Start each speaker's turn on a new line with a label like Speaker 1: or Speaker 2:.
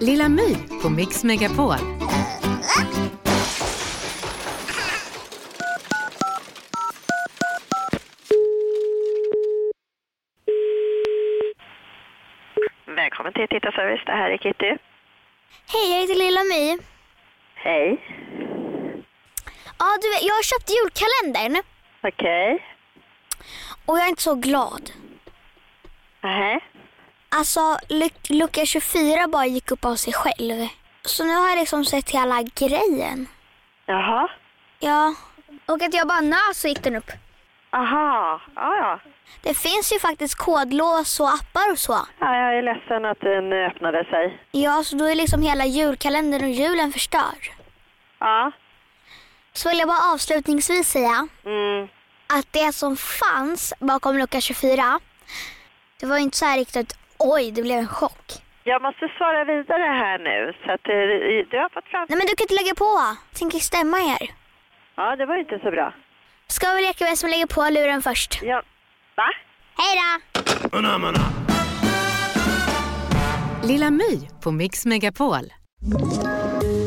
Speaker 1: Lilla My på Mix Megapol.
Speaker 2: Välkommen till Tittarservice, det här är Kitty.
Speaker 3: Hej, jag heter Lilla My.
Speaker 2: Hej.
Speaker 3: Ja, du vet, jag har köpt julkalendern
Speaker 2: Okej.
Speaker 3: och jag är inte så glad.
Speaker 2: Nähä.
Speaker 3: Alltså, luck- lucka 24 bara gick upp av sig själv. Så nu har jag liksom sett hela grejen.
Speaker 2: Jaha.
Speaker 3: Ja. Och att jag bara nös så gick den upp.
Speaker 2: Aha. Ja, ja.
Speaker 3: Det finns ju faktiskt kodlås och appar och så.
Speaker 2: ja. Jag är ledsen att den öppnade sig.
Speaker 3: Ja, så då är liksom hela julkalendern och julen förstörd.
Speaker 2: Ja.
Speaker 3: Så vill jag bara avslutningsvis säga
Speaker 2: Mm.
Speaker 3: att det som fanns bakom lucka 24, det var ju inte så här riktigt oj, det blev en chock.
Speaker 2: Jag måste svara vidare här nu. Så att, eh, du har fått fram...
Speaker 3: Nej men du kan inte lägga på. Tänker stämma er.
Speaker 2: Ja, det var ju inte så bra.
Speaker 3: Ska vi leka vem som lägger på luren först?
Speaker 2: Ja. Va?
Speaker 3: Hej då!
Speaker 1: Lilla My på Mix Megapol.